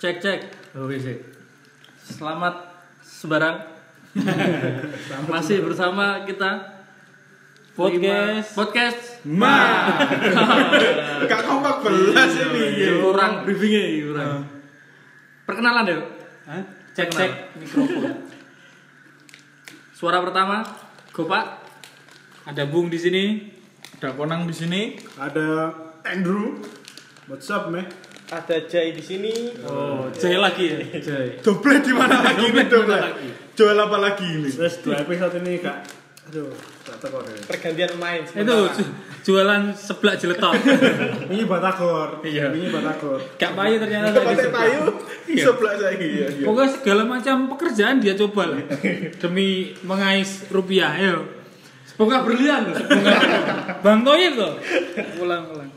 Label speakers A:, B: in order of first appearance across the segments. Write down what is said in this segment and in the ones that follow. A: Cek cek. Oke sih. Selamat sebarang. Masih bersama kita
B: Podcast.
A: podcast Iya,
C: Ma. Gak kompak belas ini.
A: Iya, kurang briefingnya ini, kurang. Perkenalan deh.
B: Cek cek mikrofon.
A: Suara pertama Gopak.
B: Ada Bung di sini.
C: Ada konang di sini.
D: Ada Andrew. What's up, meh?
E: ada Jai di sini.
B: Oh, Jai lagi ya.
C: Doble di mana lagi ini doble? Jual apa lagi ini?
D: Terus dua episode ini kak. Aduh, ya. gak teko deh.
E: Pergantian main
B: Itu
E: sementara.
B: ju- jualan seblak jeletot.
D: Ini batagor. Ini batagor.
B: Gak payu ternyata tadi
C: Pakai
B: seblak.
C: payu sebelah saya iya iya.
B: Pokoknya segala macam pekerjaan dia coba lah demi mengais rupiah. Ayo.
A: Semoga berlian.
B: Bang Toyib loh. Ulang ulang.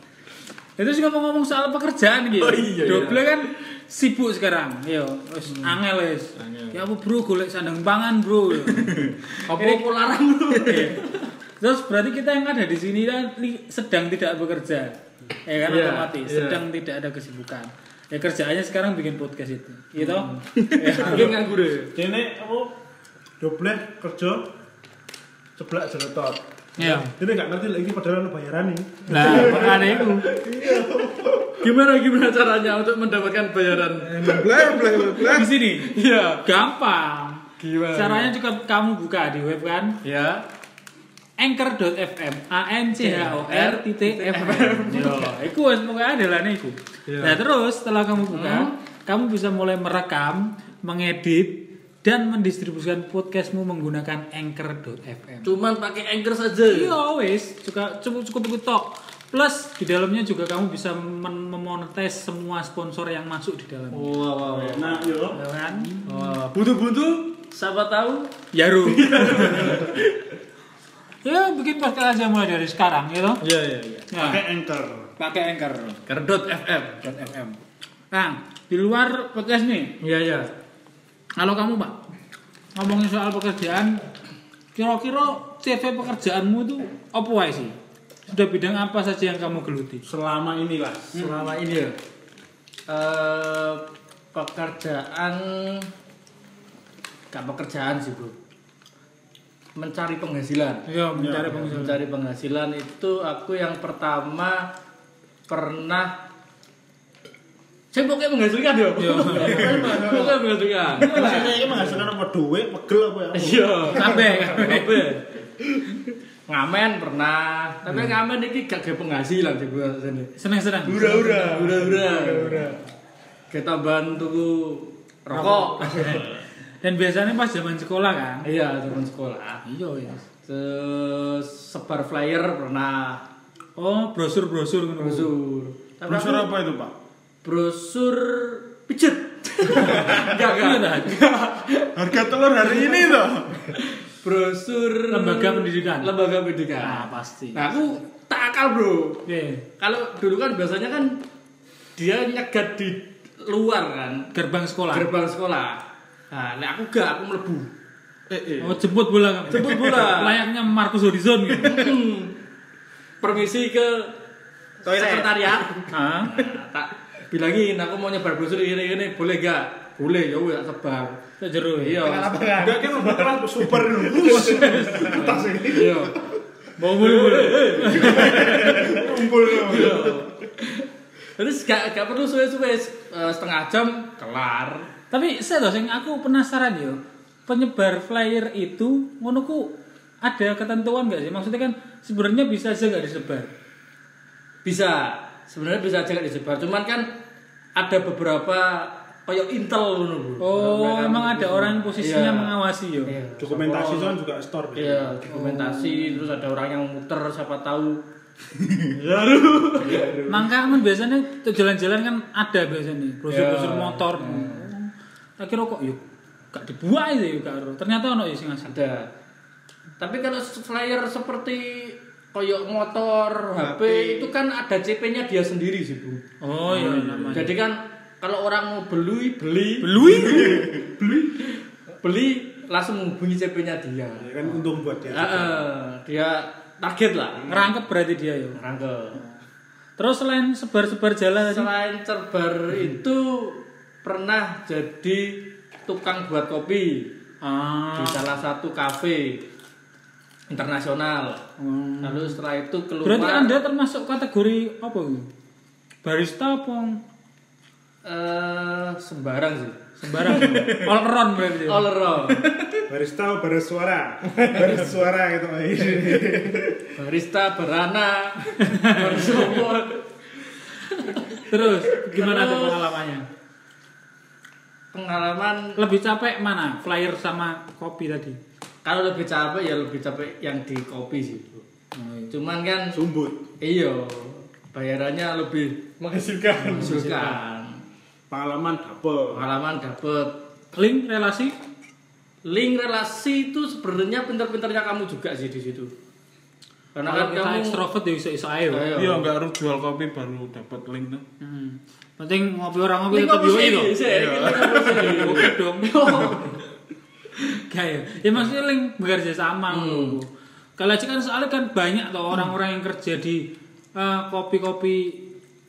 B: Itu sih Ya, ngomong-ngomong soal pekerjaan gitu.
C: Oh, iya, iya.
B: Doble kan sibuk sekarang. Yo, wis angel wis. Ya apa bro golek sandang pangan, Bro.
A: Apa
B: Ini-
A: apa larang lu?
B: Iya. Terus berarti kita yang ada di sini kan li- sedang tidak bekerja. Ya kan
A: Iya,
B: otomatis
A: iya.
B: sedang tidak ada kesibukan. Ya kerjaannya sekarang bikin podcast itu. Gitu.
A: Lagi Hmm. nganggur ya.
D: Ini aku doble kerja sebelah jeletot.
B: Ya.
D: Ini gak ngerti lagi padahal lu bayaran ini.
B: Nah, makanya itu.
A: Gimana gimana caranya untuk mendapatkan bayaran?
C: Doble doble doble.
B: Di sini
A: Iya.
B: gampang.
A: Gimana?
B: Caranya cukup kamu buka di web kan?
A: Ya.
B: anchor.fm a n c h o r titik fm yo iku wis pokoke andelane iku
A: Iya.
B: nah terus setelah kamu buka
A: Hmm?
B: kamu bisa mulai merekam mengedit dan mendistribusikan podcastmu menggunakan anchor.fm
A: Cuman pakai anchor saja.
B: iya wis juga cukup cukup cukup tok plus di dalamnya juga kamu bisa men- memonetis semua sponsor yang masuk di dalamnya
A: Wow, Oh, wow, wow.
D: Nah, yo.
B: Ya kan
A: Wah, buntu-buntu siapa tahu
B: Yaru ya bikin podcast aja mulai dari sekarang gitu
A: iya iya iya
B: nah,
D: Kayak anchor.
B: pakai anchor
A: kerdot FM
B: FM. Nah, di luar podcast nih,
A: iya iya
B: kalau kamu pak ngomongin soal pekerjaan, kira-kira CV pekerjaanmu itu apa wae sih? Sudah bidang apa saja yang kamu geluti?
D: Selama inilah.
A: selama ini ya eh, pekerjaan gak pekerjaan sih bro mencari penghasilan
B: Ya, mencari pengusaha.
A: mencari penghasilan itu aku yang pertama pernah saya pokoknya menghasilkan ya
E: Iya.
A: pokoknya menghasilkan
D: Maksudnya ini menghasilkan apa duit, pegel apa ya?
A: iya
B: Kabeh, kabeh.
A: ngamen pernah tapi ngamen ini gak ada penghasilan sih gue rasanya
B: Seneng-seneng.
C: Hura hura.
A: Ura ura. Kita bantu rokok.
B: Dan biasanya pas zaman sekolah kan.
A: iya, teman sekolah.
B: Iya, iya.
A: Terus sebar flyer pernah
B: Oh, brosur-brosur ngono.
A: brosur. Tapi
C: Brosur
A: aku
C: apa itu pak?
A: brosur pijet. Enggak
B: Iya,
A: enggak.
B: dah.
C: Harga telur hari ini toh.
A: Brosur
B: Lembaga pendidikan.
A: Lembaga pendidikan.
B: Nah, pasti.
A: Nah, aku tak akal, Bro.
B: Iya.
A: Kalau dulu kan biasanya kan dia nyegat di luar kan,
B: Gerbang sekolah.
A: gerbang sekolah. Nah, nek aku gak, aku mlebu.
C: Eh eh.
B: Oh, jemput bola kamu.
A: Jemput bola.
B: Layaknya Marcus Horizon gitu.
A: Hmm. permisi ke
C: Toilet.
A: sekretariat
B: Hah?
A: Nah, tak bilangin aku mau nyebar brosur ini ini boleh gak boleh ya wes sebar
B: Tak jero.
A: iya
D: Enggak kan obat kelas super lulus. Kertas ini.
A: iya mau boleh boleh
D: Kumpul.
A: Iya. terus gak, gak perlu suwe-suwe eh, setengah jam kelar
B: Tapi saya loh, sing aku penasaran yo. Penyebar flyer itu ngono ku ada ketentuan nggak sih? Maksudnya kan sebenarnya bisa aja nggak disebar.
A: bisa sebenarnya bisa aja gak disebar cuman kan ada beberapa kayak intel ngono, Bu.
B: Oh,
A: Mereka-
B: emang ada orang yang posisinya
A: Iya.
B: mengawasi yo.
A: Iya.
D: Dokumentasi itu kan juga store.
A: Iya, dokumentasi terus ada orang yang muter siapa tahu.
B: Mangka aman kan biasanya tuh jalan-jalan kan ada biasanya brosur-brosur
A: Iya.
B: motor. Akhirnya kok yuk gak dibuat itu yuk gak ero. Ternyata ono yo sing ngasih.
A: Ada. Tapi kalau flyer seperti koyok motor, HP, itu kan ada CP-nya dia sendiri sih, Bu.
B: Oh iya, namanya.
A: Jadi kan kalau orang mau beli, beli,
B: Belui.
A: beli, beli langsung menghubungi CP-nya dia.
D: Ya kan untung buat
C: Iya.
A: Eh,
D: dia.
A: eh, dia target lah.
B: Ngerangkep berarti dia yo.
A: Rangkel.
B: Terus selain sebar-sebar jalan tadi,
A: Selain cerbar itu pernah jadi tukang buat kopi
B: Ah.
A: di salah satu kafe internasional.
B: Hmm.
A: Lalu setelah itu keluar
B: Berarti Anda termasuk kategori apa? Bu? Barista apa?
A: eh, sembarang sih.
B: Sembarang. All around berarti.
A: All around.
C: Barista bersuara, bersuara gitu.
A: Barista berana, bersumur.
B: Terus gimana tuh
A: Terus.
B: pengalamannya?
A: Pengalaman
B: Lebih capek mana? Flyer sama kopi tadi.
A: kalau lebih capek ya lebih capek yang di kopi sih. Bro. Cuman kan
C: Sumbut.
A: iya bayarannya lebih
D: menghasilkan
A: menghasilkan.
C: Pengalaman dapet.
A: Pengalaman dapet
B: Link relasi?
A: link relasi itu sebenarnya pinter-pinternya kamu juga sih di situ. Karena
B: Kalau
A: kan
B: kita
A: kamu
B: ekstrovert ya bisa iso ayo.
A: Ayo.
D: Iya, nggak harus jual kopi baru dapat link tuh.
B: Hmm. Penting ngopi orang ngopi
A: Link
B: tetap Iya.
A: apa
B: yo
A: sih? Iya.
B: itu.
A: Sih, link apa sih?
B: Oke dong. Kayak ya maksudnya link bekerja sama
A: Hmm.
B: loh. Kalau aja kan soalnya kan banyak tuh orang-orang yang kerja di eh, kopi-kopi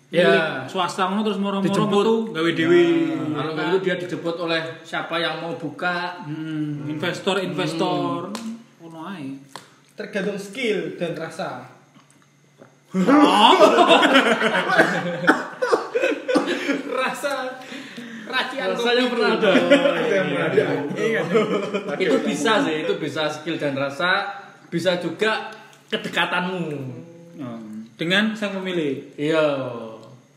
A: Ya.
B: milik swasta ngono terus moro-moro
A: Dijemput.
B: metu gawe dhewe.
A: Kalau nggak itu dia dijemput oleh siapa yang mau buka.
B: Hmm, investor-investor
A: Hmm.
B: ngono ae.
D: Tergantung skill dan rasa.
A: Rasa racian rasanya pernah ada.
D: Iya.
A: itu bisa sih, itu bisa skill dan rasa, bisa juga kedekatanmu.
B: Dengan sang pemilik.
A: Iya,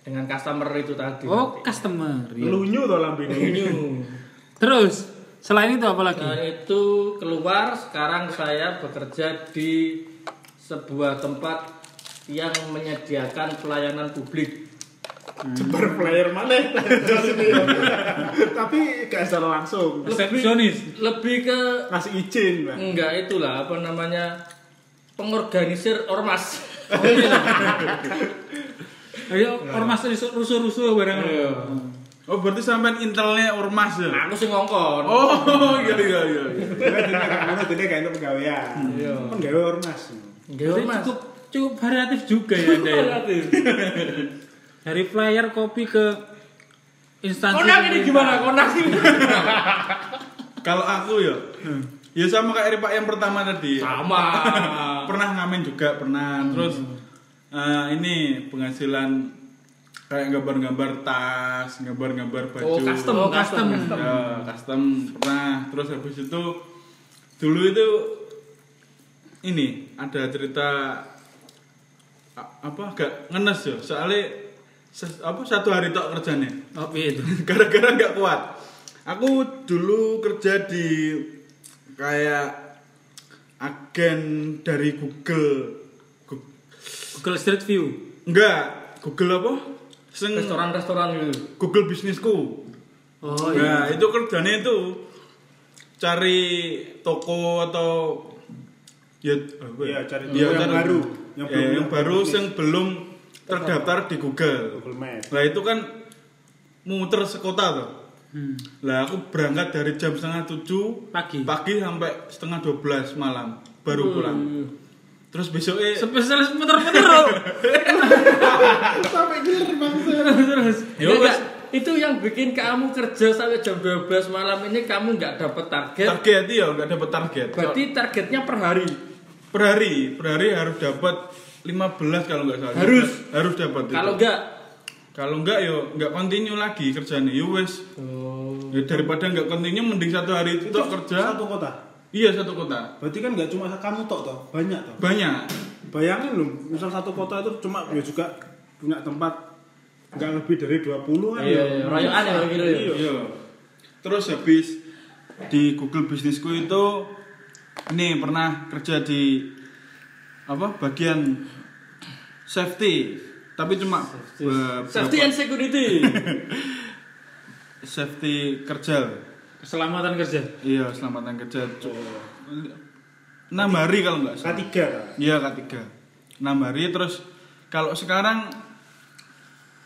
A: dengan customer itu tadi.
B: Oh, customer. ya.
C: Lunyu tuh lambene.
A: New.
B: Terus selain itu apa lagi?
A: Nah, itu keluar sekarang saya bekerja di sebuah tempat yang menyediakan pelayanan publik.
C: Jebar player mana? Jos ini ya. Tapi gak secara langsung.
B: Resepsionis.
A: Lebih ke
C: Ngasih izin, Pak.
A: enggak itulah apa namanya pengorganisir ormas.
B: Ayo
A: Ya.
B: ormas rusuh-rusuh bareng.
A: Iya.
D: Oh, berarti sampean intelnya ormas ya?
A: Aku sih ngongkon.
D: Oh, iya iya iya.
C: Karena tidak kan kayak itu pegawaian.
A: Iya.
C: Pegawai ormas.
A: Enggak
B: Jadi
A: ormas.
B: cukup cukup variatif juga
E: Iya,
B: ya Anda ya. Dari flyer kopi ke instansi.
A: Konak ini gimana? Konak ini.
D: Kalau aku ya,
A: Hmm.
D: ya sama kayak Ripak yang pertama tadi.
A: Sama.
D: Pernah ngamen juga pernah. Terus eh, ini penghasilan kayak gambar-gambar tas, gambar-gambar baju.
A: Oh, custom,
B: Oh,
A: custom.
B: custom.
D: Ya, custom pernah. Terus habis itu dulu itu ini ada cerita a- apa gak ngenes ya soalnya ses- apa satu hari tok kerjanya
B: Oh, iya itu.
D: gara-gara nggak kuat. Aku dulu kerja di kayak agen dari Google. Gu-
B: Google Street View.
D: Enggak, Google apa? Sing
A: Restoran-restoran gitu.
D: Google bisnisku.
B: Oh,
D: Nah,
B: iya.
D: itu kerjanya itu cari toko atau ya apa
C: Iya, cari toko yang baru. Yang
D: yang,
C: belum-
D: Iya, yang,
C: yang
D: baru
C: bisnis.
D: yang belum terdaftar di Google.
C: Google Maps.
D: Lah itu kan muter sekota tuh.
B: Hmm.
D: Lah aku berangkat dari jam setengah tujuh
B: Pagi.
D: pagi sampai setengah dua belas malam baru pulang. Terus besoknya
B: Spesialis muter-muter. Bro.
C: Sampai gila bangsa.
B: Terus.
E: Iya,
D: Ya,
A: Iya, Enggak,
D: wes.
A: enggak. itu yang bikin kamu kerja sampai jam 12 malam ini kamu nggak dapat target.
D: target ya nggak dapat target.
A: Berarti targetnya per hari.
D: Per hari, per hari harus dapat 15 kalau nggak salah.
A: Harus.
D: harus dapat. itu.
A: Kalau nggak,
D: kalau nggak yo nggak continue lagi kerjanya. Yo wes. Ya, daripada nggak continue mending satu hari itu tok kerja.
C: Satu kota.
D: Iya satu kota.
C: Berarti kan nggak cuma kamu tok toh, banyak toh.
D: Banyak.
C: Bayangin loh, misal satu kota itu cuma ya juga punya tempat nggak lebih dari 20 kan.
A: Iya,
C: ya.
A: iya, rayaan ya, gitu ya.
C: Iya.
D: Iya. Terus habis di Google bisnisku itu ini pernah kerja di apa bagian safety tapi cuma be-
A: safety
D: berapa-
A: and security.
D: safety kerja
B: Keselamatan kerja.
D: iya selamatan kerja cu- enam hari kalau nggak salah
C: K3 toh.
D: iya ketiga enam hari terus kalau sekarang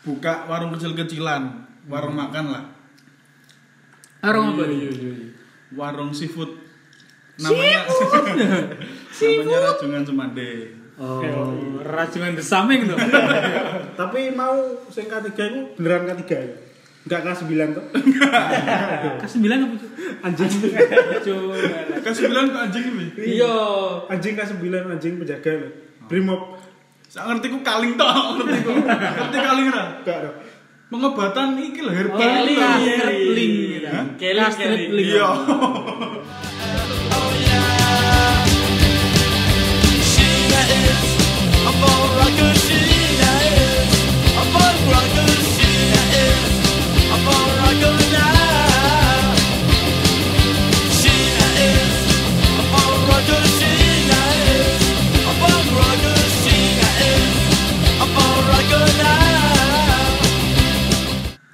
D: buka warung kecil-kecilan warung makan lah
B: Arung apa? iya.
D: warung seafood namanya namanya rajungan semande
B: Oh, gitu. rajungan the samping tuh.
C: Tapi mau sing K3 itu beneran K3 ya. Enggak kelas 9 tuh.
B: Kelas 9 apa Cuk?
C: Anjing.
B: Coba.
D: Kelas 9 kok anjing ini.
A: Iya.
C: Anjing kelas 9 anjing penjaga loh. Brimob.
D: Sak ngerti ku kaling tok, ngerti ku. Ngerti kaling ra.
C: Enggak dong.
D: Pengobatan iki lho herbal. itu
A: Kelly.
D: lah.
A: Kelly.
B: gitu.
D: Hah?
A: Kelly.
B: Castret
A: Kelly.
B: Link.
D: Iya.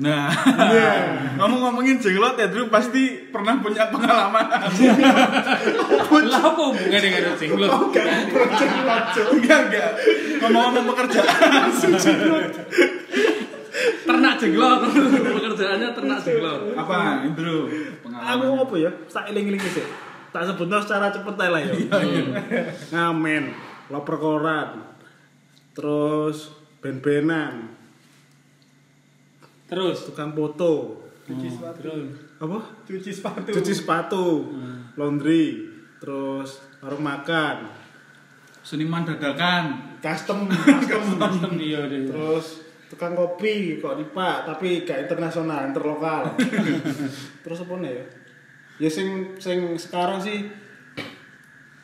D: Nah, kamu ngomongin jenglot ya, Drew pasti pernah punya pengalaman.
B: Lah apa hubungannya dengan jenglot?
D: Enggak, enggak. Ngomong-ngomong pekerjaan.
A: Ternak jenglot. Pekerjaannya ternak jenglot.
D: Apa, Indro? Pengalaman.
C: Aku apa ya? Tak eling-eling sih. Tak sebutno secara cepet ae lah ya. Ngamen, loper koran. Terus ben-benan,
B: Terus.
C: tukang foto. Hmm.
B: Terus.
C: Apa? Cuci sepatu. Hmm. Cuci sepatu. Laundry. Terus warung makan.
D: Seniman dadakan.
C: Custom, custom.
B: Custom iya, dia dia.
C: terus tukang kopi kok nipak tapi gak internasional interlokal terus apa nih ya ya sing sing sekarang sih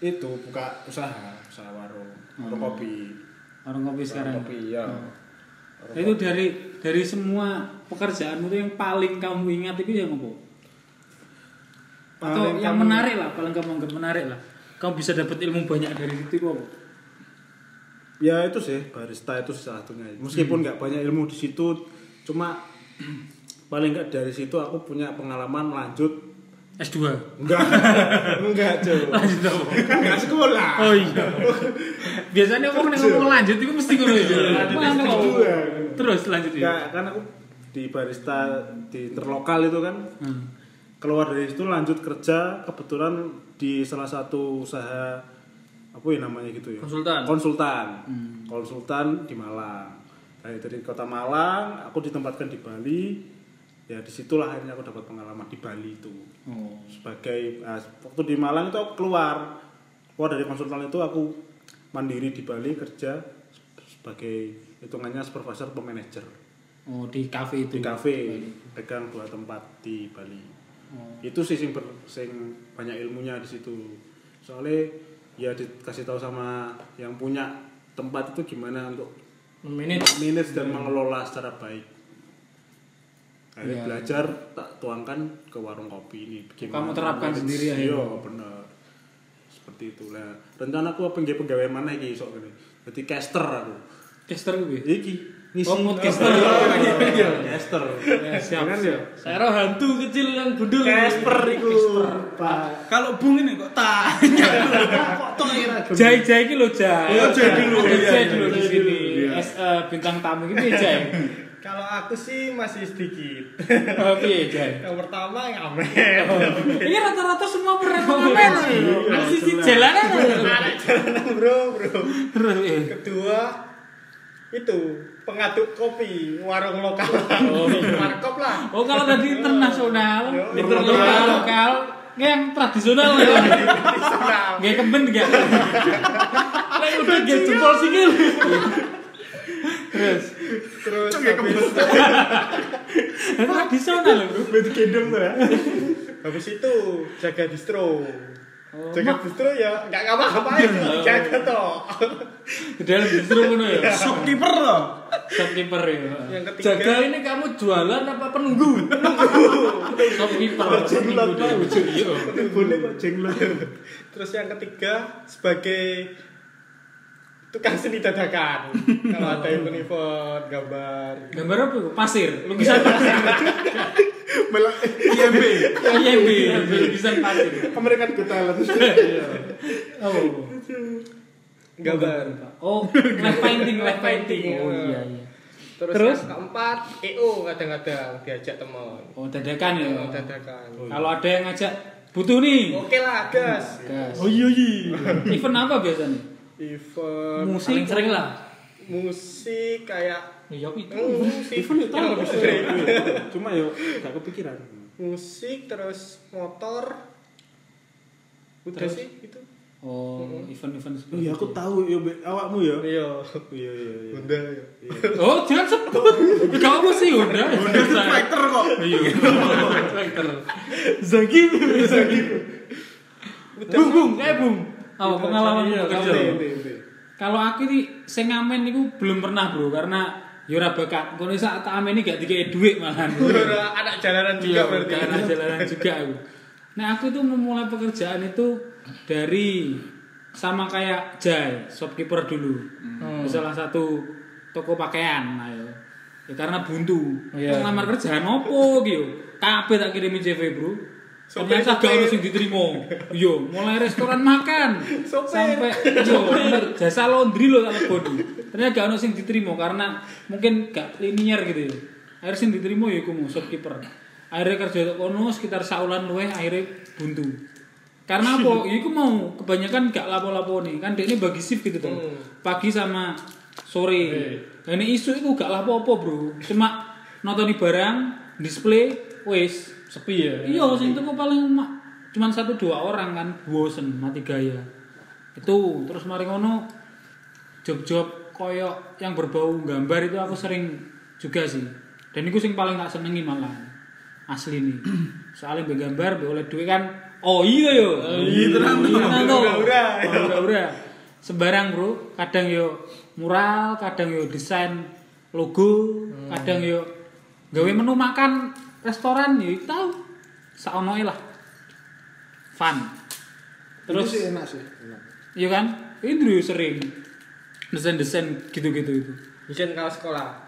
C: itu buka usaha usaha warung warung kopi
B: Orang kopi Hmm.
C: warung
B: sekarang.
C: kopi ya
B: Nah, itu dari dari semua pekerjaanmu itu yang paling kamu ingat itu yang apa? Atau
C: Paling
B: yang
C: kamu-
B: menarik lah, paling kamu anggap menarik lah. Kamu bisa dapat ilmu banyak dari situ itu apa?
C: ya itu sih barista itu salah satunya meskipun
B: Hmm.
C: nggak banyak ilmu di situ cuma paling nggak dari situ aku punya pengalaman lanjut
B: S2.
C: enggak enggak coba
B: Lanjut apa?
C: kan nggak sekolah
B: Oh iya. Biasanya orang yang ngomong lanjut itu mesti ngono ya. Mana
C: S2.
B: kok? Terus lanjut ya.
C: Enggak, kan aku di barista di terlokal itu kan
B: Hmm.
C: keluar dari situ lanjut kerja kebetulan di salah satu usaha apa ya namanya gitu ya
A: Konsultan.
C: konsultan
B: Hmm.
C: konsultan di Malang dari dari kota Malang aku ditempatkan di Bali ya disitulah akhirnya aku dapat pengalaman di Bali itu
B: Oh.
C: sebagai ah, waktu di Malang itu aku keluar keluar dari konsultan itu aku mandiri di Bali kerja sebagai hitungannya supervisor pemanager
B: Oh, di kafe itu.
C: di kafe pegang dua tempat di Bali
B: Oh.
C: itu sih sing, ber- sing banyak ilmunya di situ soalnya ya dikasih tahu sama yang punya tempat itu gimana untuk
A: Menit.
C: manage
B: Hmm.
C: dan mengelola secara baik
B: Iya.
C: Akhirnya belajar tak tuangkan ke warung kopi ini
B: Kamu terapkan
C: manage-
B: sendiri ya? akhirnya?
C: iya bener seperti itu lah rencanaku apa nggih pegawai mana iki sok gini jadi caster aku
B: Caster gue.
C: iki ngisi
B: Oh, podcaster.
C: iya caster
B: siap,
C: Kan ya
A: Saya roh hantu kecil yang gundul.
C: Casper iku Pak
D: Kalau bung ini kok tanya.
C: kok tok ira
B: Jai Jai ini lo Jai.
D: Oh, Jai dulu.
B: Jai,
D: Iya,
B: Jai
D: iya,
B: dulu di
D: Jai
B: sini.
D: dulu, iya.
B: As, eh, bintang tamu ini Jai.
E: Kalau aku sih masih sedikit.
B: Oke Jai.
E: Yang pertama ngamen.
B: Oh. Ini rata-rata semua pernah ngamen. Masih di
C: jelas.
B: jalanan.
E: Anak jalanan bro, bro.
B: Terus, eh.
E: Kedua itu pengaduk kopi warung lokal. Warkop lah.
B: Oh kalau tadi internasional,
E: Yo,
B: internasional lokal, nggak yang tradisional ya.
E: Tradisional.
B: Nggak kemben nggak. Lah udah nggak jempol sikil. Terus,
E: Terus
D: Cok, ya,
E: habis,
B: tradisional loh, bro.
C: Bet gendong tuh ya.
E: habis itu jaga distro.
C: Oh.
E: Jaga distro ya nggak ngapa-ngapain,
C: Iya.
E: jaga toh.
B: Udah lebih seru kan ya.
D: Shopkeeper loh.
B: Shopkeeper ya.
E: Yang ketiga
A: Jaga ini kamu jualan apa penunggu?
B: Shopkeeper.
C: Jenglot
B: Minggu
C: Pak.
B: dia. Iya.
C: Boleh kok jenglot.
E: Terus yang ketiga sebagai tukang seni dadakan. Kalau ada yang menelpon gambar.
B: Gambar apa? itu? Pasir, lukisan pasir.
C: Melak
D: IMB.
E: Iya,
B: IMB, lukisan pasir.
C: American Got Talent.
B: Oh.
E: Gambar.
B: Oh, live painting, live painting.
E: Oh, iya,
B: iya.
E: Terus,
B: Terus?
E: yang keempat
C: Eh,
E: EO kadang-kadang diajak teman.
B: Oh, dadakan ya.
E: Oh, dadakan. Oh.
B: Kalau ada yang ngajak butuh nih.
E: Oke lah, gas.
B: Gas.
D: Oh iya iya.
B: Event apa biasanya?
E: Event
B: Musik
A: Paling sering lah.
E: musik kayak oh,
B: New York itu.
E: musik
C: Even itu
E: yang
C: tahu
E: lebih
C: kok.
E: sering.
C: ya, Cuma yo gak kepikiran.
E: musik terus motor udah
B: Terus?
E: sih itu
B: Oh, event-event seperti
C: Iya aku
B: itu.
C: tahu yo Be. awakmu ya.
E: iya
C: Iya iya iya.
E: Honda ya
B: Oh, jangan sebut. Kamu sih udah.
D: Honda Street Fighter kok. Iya.
B: Zagi, Zagi. Bung, bung, eh bung. Apa pengalaman
E: Iya,
B: bekerja?
E: kamu.
C: Ente, ente.
B: Kalau aku ini sing ngamen niku belum pernah, Bro, karena yo ora bakat. Kono sak tak ameni gak dikei dhuwit malahan.
E: Ora anak jalanan juga
B: Iya,
E: berarti
B: karena jalanan juga aku. Nah, aku tuh memulai pekerjaan itu dari sama kayak Jai, shopkeeper dulu.
A: Hmm.
B: Di Salah satu toko pakaian, ayo. Ya karena buntu.
A: Iya.
B: Ngelamar kerjaan opo iki yo? Kabeh tak kirimi CV, Bro.
E: Sopir,
B: Ternyata gak
E: sopir.
B: ono sing diterima. Yo, mulai restoran makan
E: Sopir.
B: sampai yo, bener, jasa laundry lo tak leboni. Ternyata gak ono sing diterima karena mungkin gak linier gitu ya. Akhirnya sing diterima ya iku mau shopkeeper. Akhirnya kerja tok kono sekitar saulan luweh akhirnya buntu. Karena apa? Ya iku mau kebanyakan gak lapo-lapo nih. Kan dia bagi shift gitu tuh.
A: Hmm.
B: Pagi sama sore. Nah, ini isu itu gak lapo-lapo bro. Cuma nonton barang, display, wes
A: Sepi ya.
B: Iya, sing tuku paling mak cuman satu dua orang kan bosen mati gaya. Itu terus mari ngono job-job koyok yang berbau gambar itu aku sering juga sih. Dan itu sing paling tak senengi malah asli nih. Soalnya mbek gambar mbek oleh duit kan oh iya yo. Iya tenan to. Iya.
E: Ura-ura.
B: Ora-ora. Sembarang, Bro. Kadang yo mural, kadang yo desain logo, kadang yo gawe menu makan restoran yo tau. Saonoe lah. Fun.
C: Terus
B: Terus
C: sih enak sih. Enak.
B: Iya kan? Itu dulu sering desain-desain gitu-gitu itu.
E: Desain kaos sekolah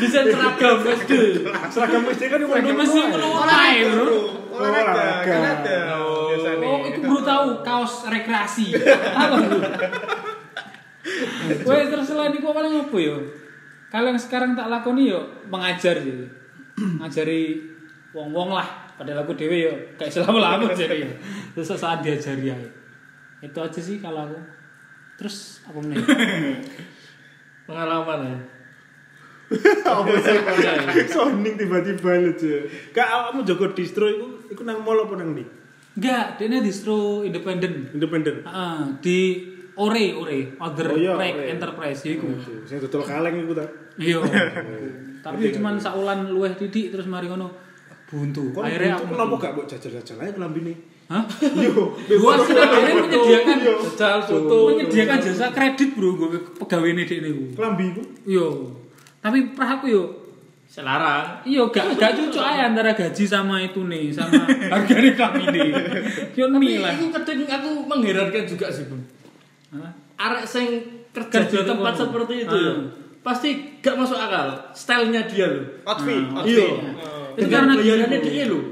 B: Desain seragam SD.
C: Seragam SD kan yang
B: Udah mesti ngono ae, Bro.
E: olahraga
C: Olahraga.
E: kan ada biasanya
A: ya
B: Oh,
A: kan.
B: itu baru tahu kaos rekreasi. Apa itu? Wes terus selain iku paling apa yo? Kalian sekarang tak lakoni yo mengajar sih. Ngajari wong-wong lah. Padahal aku dhewe yo kayak selama-lama
A: Iya.
B: jadi yo. Terus saat diajari ae. Itu aja sih kalau aku. Terus apa meneh?
A: Pengalaman ya.
C: Apa sih? Sounding tiba-tiba lho, Je. Kak awakmu jago distro iku iku nang mall apa nang ndi?
B: Enggak, dia distro independen.
C: Independen.
B: Heeh, Ah, di Ore, Ore, Other
C: Oh, iya,
B: Rake
C: Ore.
B: Enterprise ya iku.
C: Sing dodol kaleng iku ta.
B: Iya. Tapi cuman saulan luweh titik terus mari ngono buntu.
C: Kok
B: Akhirnya aku
C: kenapa gak mbok jajal-jajal ae kelambine?
B: Hah?
C: Yo,
B: Gua sudah akhirnya menyediakan
A: Jajal foto.
B: menyediakan jasa kredit, Bro, gue pegawai ini dek niku.
C: kelambi iku.
B: Iya. Tapi prah aku yo
A: Selarang.
B: Iya, gak gak cocok aja antara gaji sama itu nih, sama harga rekam ini. Yo
A: Tapi
B: milah.
A: aku kadang aku mengherankan juga sih, Bung.
B: Hah?
A: Arek sing kerja
B: Kerja
A: di tempat
B: tuh,
A: seperti itu
B: ah.
A: ya. Pasti gak masuk akal stylenya dia loh.
E: outfit
D: Hmm.
A: Iya.
E: outfit
D: Oh.
A: Itu
B: Dengan
A: karena bayarannya
B: gini,
A: dia loh.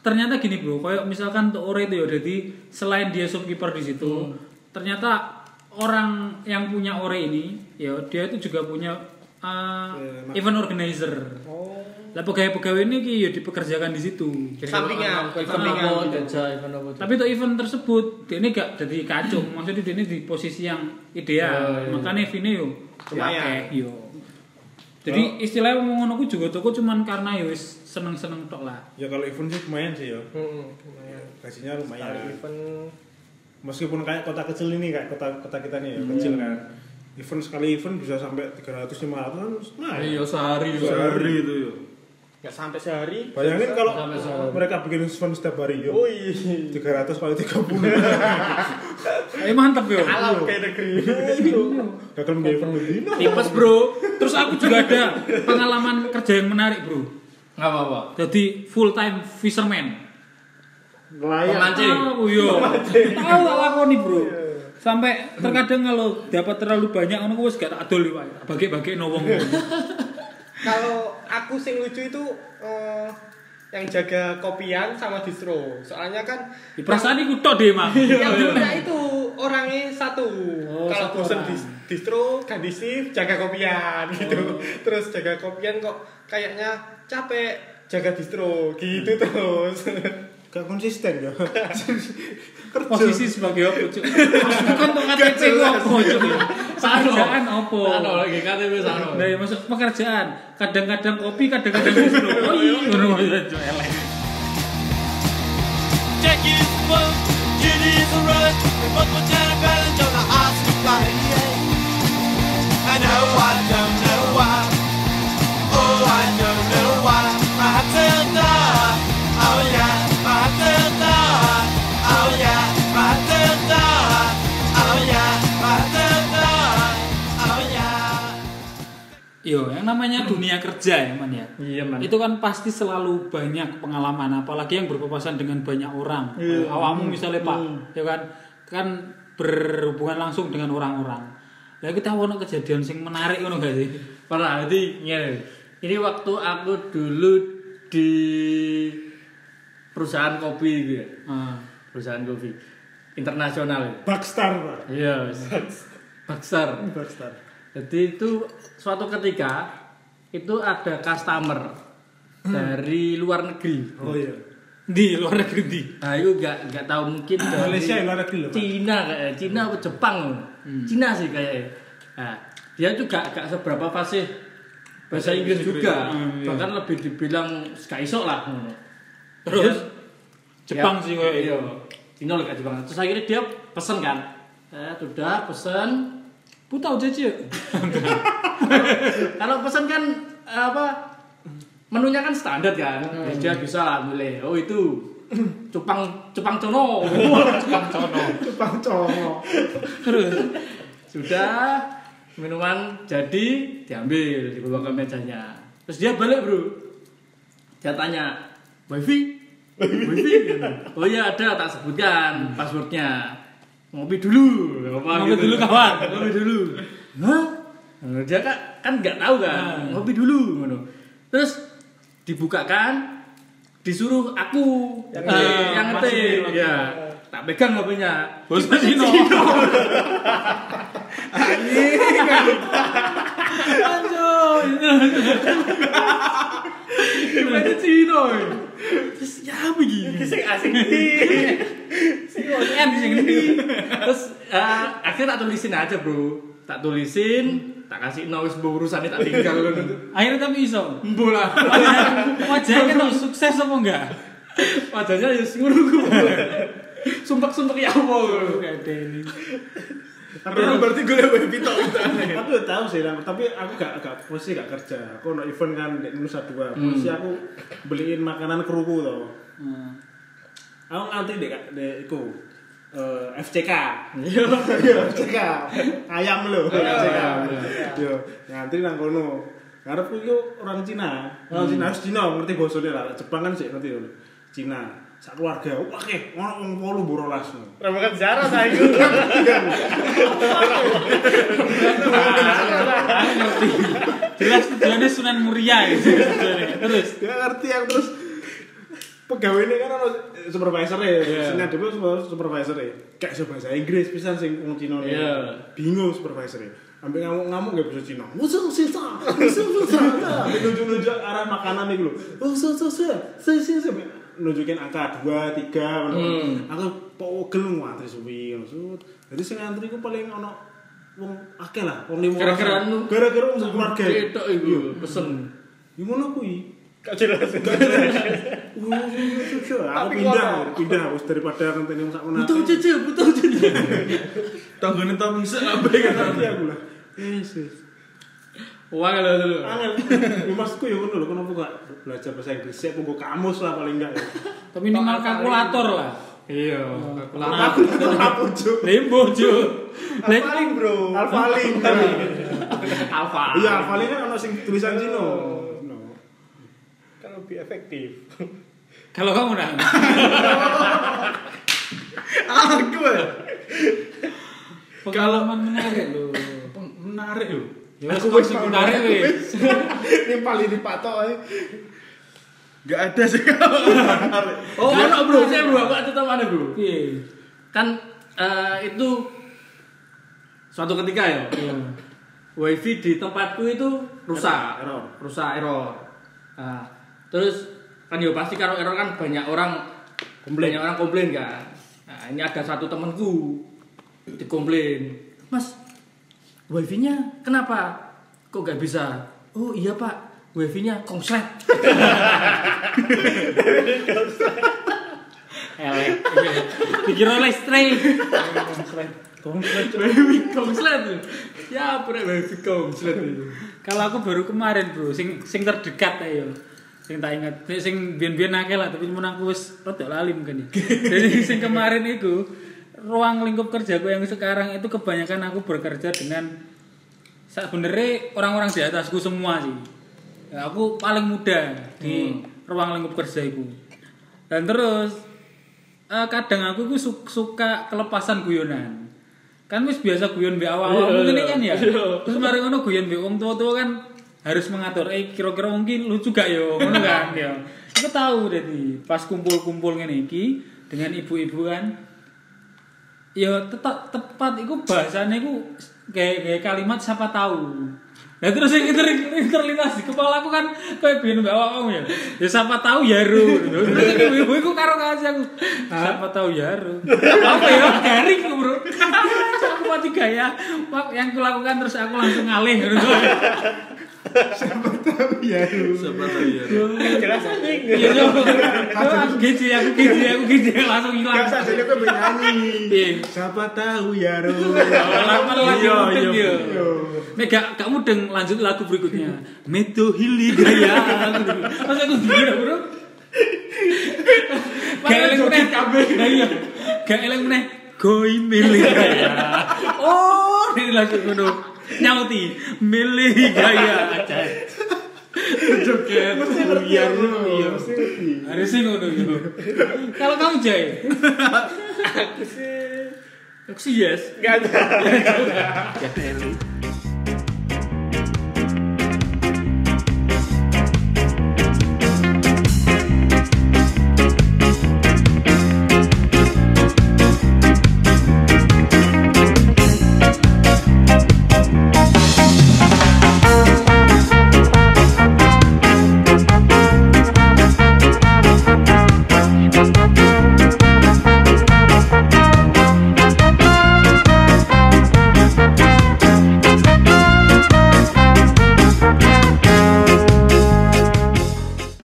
B: ternyata gini bro kayak misalkan untuk ore itu ya jadi selain dia shopkeeper di situ ternyata orang yang punya ore ini ya dia itu juga punya uh,
C: Eh,
B: event organizer lah pegawai-pegawai ini ki, ya dipekerjakan di situ
E: sampingan bukan
A: Event
E: sampingan
A: apa jajal, event apa jajal.
B: tapi untuk event tersebut dia ini gak jadi kacung maksudnya dia ini di posisi yang ideal makanya Vini yo
E: Lumayan.
B: diakeh, yo jadi istilahnya ngomong ngono ku juga toko cuman karena yo wis seneng-seneng tok lah
C: Ya kalau event sih lumayan sih ya.
E: Hmm,
C: Gajinya lumayan.
E: event
C: Meskipun kayak kota kecil ini kayak kota kota kita nih ya, kecil kan. Event sekali event bisa sampai 300 500 kan. Nah,
A: Iya sehari yo.
D: Sehari itu yo.
E: nggak sampai sehari
C: Bayangin kalau
A: Sampai sehari.
C: mereka bikin event setiap hari ya. yo.
E: woi
C: 300 kali 30.
B: eh mantep yo
E: alam kayak negeri
C: Gagal nggak event Nah, Medina.
B: tipes bro terus aku juga ada pengalaman kerja yang menarik bro
A: Enggak apa-apa.
B: jadi full time fisherman
C: Nelayan.
A: Pemancing.
B: aku yo tahu tak lakoni bro sampai terkadang kalau dapat terlalu banyak ngono ku wis gak tak adol wae bagi-bagi no wong
E: kalau aku sing lucu itu eh, yang jaga kopian sama distro soalnya kan Iya,
B: Di perasaan iku tok deh Iya, mah
E: yang diminta itu orangnya satu kalau
B: Oh, satu
E: bosen
B: orang.
E: dis- distro ganti shift jaga kopian gitu terus jaga kopian kok kayaknya capek jaga distro gitu terus
C: gak konsisten ya kerja
B: posisi sebagai opo cuk aku kan tuh KTC ku opo cuk pekerjaan opo
A: Sano lagi KTP Sano.
B: nah ya masuk pekerjaan kadang-kadang kopi kadang-kadang ngono oh iya ngono ya cuk elek
F: Check it out, it is a rush. We must put down a balance on the Oscar body. I know I don't know why. Oh, I don't know why. My tail died. Oh yeah, my tail died. Oh yeah, my tail died. Oh yeah, my tail died. Oh yeah.
B: Yo, yang namanya dunia kerja ya man ya.
A: Iya, Man.
B: Itu kan pasti selalu banyak pengalaman, apalagi yang berpapasan dengan banyak orang. Awamu misalnya pak, ya kan, kan berhubungan langsung dengan orang-orang. Lah kita ono kejadian sing menarik ngono gak sih?
A: Pernah jadi ngene. Ini waktu aku dulu di perusahaan kopi gitu ya.
B: Ah.
A: Perusahaan kopi internasional. gitu.
C: Bakstar pak
A: Iya. Baksar.
C: Bakstar
A: Jadi itu suatu ketika itu ada customer dari luar negeri.
C: oh iya
B: Di luar negeri di.
A: Nah, itu nggak nggak tahu mungkin dari
C: Malaysia ya luar negeri loh pak
A: Cina kayak Cina atau Jepang Cina sih kayaknya nah, dia juga gak seberapa fasih bahasa Inggris juga bahkan lebih dibilang gak iso lah ngono.
B: Terus
A: Dia-
B: Jepang
A: Ya,
B: sih kayak
A: iya. Cina lah gak Jepang terus akhirnya dia pesen kan eh, sudah pesen
B: Putau jeci.
A: kalau pesen kan apa menunya kan standar kan Ya, dia bisa lah mulai oh itu cupang cupang cono cupang cono
C: Jepang cowok
A: sudah minuman jadi diambil dibawa ke mejanya terus dia balik bro dia tanya wifi wifi oh iya ada tak sebutkan passwordnya ngopi dulu apa gitu?"
B: Ngopi dulu, kawan.
A: ngopi dulu hah Nah, dia kan kan nggak
B: Ah.
A: tahu kan ngopi dulu ngono terus dibukakan disuruh aku yang, yang ngetik ya tak pegang hpnya
B: Bos Cino. Anjing.
A: Gimana Cino? Terus ya apa gini? Sing asing di. Sing OM sing di. Terus eh, akhirnya tak tulisin aja, Bro. Tak tulisin, tak kasih no wis mbok urusane tak tinggal ngono.
B: Akhirnya tapi iso.
A: Embo lah.
B: Wajahnya kan tau sukses apa enggak?
A: Wajahnya ya sing ngono ku. Sumpek-sumpek ya apa ngono.
C: tapi
D: Terus berarti gue lebih pitok
C: Eh, aku udah tahu sih Lang. tapi aku gak gak posisi gak kerja aku no event kan di Nusa Dua posisi aku beliin makanan kerupuk tuh
B: Ah.
C: aku nanti di di iku eh, FCK iya FCK ayam lo FCK yo nanti nang kono karepku itu orang Cina orang Cina harus Cina ngerti bahasanya lah Jepang kan sih ngerti yo Cina sak keluarga wah keh ono wong 8 borolas no.
A: Kan
E: Remukan Zara saya itu.
A: Ah,
B: Jelas tujuannya Sunan Muria ya. tujuannya. Terus
C: Gak ngerti aku terus pegawai ini kan ono supervisor ya,
A: Iya.
C: sini ada pun supervisor ya, kayak iso bahasa Inggris pisan sing wong Cina ini.
A: Iya.
C: bingung supervisor ya, ambil ngamuk-ngamuk gak bisa Cina, wusung sisa, wusung sisa, nuju-nuju arah makanan itu loh, wusung sisa, sisa sisa, nunjukin angka dua tiga, ngono.
A: Hmm.
C: aku pogel ngantri suwi, ngono. Sut. jadi sing ngantri ku paling ono wong akeh lah, wong lima orang.
A: Gara-gara anu-
C: gara-gara wong keluarga, Iya.
A: Cetok iku pesen.
C: yang ngono kuwi.
E: Kau jelas.
C: aku
E: Tapi
C: pindah,
E: kok-
C: aku pindah wis daripada ngenteni wong sak menawa.
A: Butuh cece, butuh cece.
D: Tanggungnya tau bisa apa ya
C: Ngerti aku lah. Yes. yes.
A: Wah, lho lho.
C: Angel, ya maksudku ya ngono lho, kenapa gak belajar bahasa Inggris? Siap nggo kamus lah paling enggak.
B: tapi minimal kalkulator lah. Nah,
A: Iya, kalkulator.
C: Aku tetap ujuk.
B: Limbo cu. Lek
E: Paling bro.
C: Alfaling.
A: Alfa.
C: Iya, alfaling kan ono sing tulisan Cina. No.
E: Kan lebih efektif.
B: kalau kamu nang
D: Aku ya
B: pengalaman menarik lo.
D: Menarik loh
B: Ya wis kok sing menarik wis.
C: Ini paling dipatok ae.
D: Gak ada sih kalau menarik
A: Oh, ono bro, saya bro, aku tetap ada bro.
D: Iya.
B: Piye?
A: kan eh, itu suatu ketika ya wifi di tempatku itu rusak
C: Error.
A: rusak error Nah, terus kan ya pasti kalau error kan banyak orang komplain orang komplain kan nah, ini ada satu temanku dikomplain mas wifi nya kenapa kok gak bisa oh iya pak wifi nya kongslet
B: Elek. Iya. Dikira listrik.
A: wifi kongslet ya pura wifi kongslet itu
B: Kalau aku baru kemarin, Bro, sing sing terdekat ayo. Sing tak ingat, sing biyen-biyen akeh lah, tapi cuman aku wis rada lali mungkin ya. Jadi sing kemarin itu ruang lingkup kerjaku yang sekarang itu kebanyakan aku bekerja dengan sebenarnya orang-orang di atasku semua sih. Ya, aku paling muda di ruang lingkup kerjaku. Dan terus eh, kadang aku iku su- suka kelepasan guyonan. Kan wis biasa guyon mbek awal-awal mungkin ini kan ya. Terus mari ngono guyon mbek wong tua-tua kan harus mengatur eh kira-kira mungkin lucu gak yo ngono kan ya. Aku tahu jadi pas kumpul-kumpul ngene iki dengan ibu-ibu kan ya tetap tepat iku bahasane iku kayak, kayak kalimat siapa tahu Nah terus yang ter yang terlintas di kepala aku kan kayak biyen mbak awakmu ya. Ya siapa tahu ya Ru. Terus ini ibu iku karo kasih aku. Siapa tahu ya Ru. Apa ya garing aku, Bro. aku mati gaya. Mak yang kulakukan terus aku langsung ngalih.
D: Siapa tahu ya.
E: jelas anjing
B: Ya coba. Coba aku gitu aku gitu aku gitu langsung hilang.
C: Gak sadar gue nyanyi.
B: Iya.
C: Siapa tahu ya Ru.
B: Lama lagi
D: Iya,
B: mudeng
D: iya,
B: ya. Nek gak gak mudeng lanjut lagu berikutnya. Meto Hili Gaya. Mas aku gila, Bro. Gak eleng meneh kabeh. Iya. Gak eleng meneh goi milih gaya. Oh, ini langsung ngono. Nyauti milih gaya. Joget. Oh, iya,
C: Mesti ngerti ya Ru. Mesti ngerti.
B: Harusnya ngono gitu. Kalau kamu Jai,
E: sih
A: aku sih yes
E: nggak ada
B: ya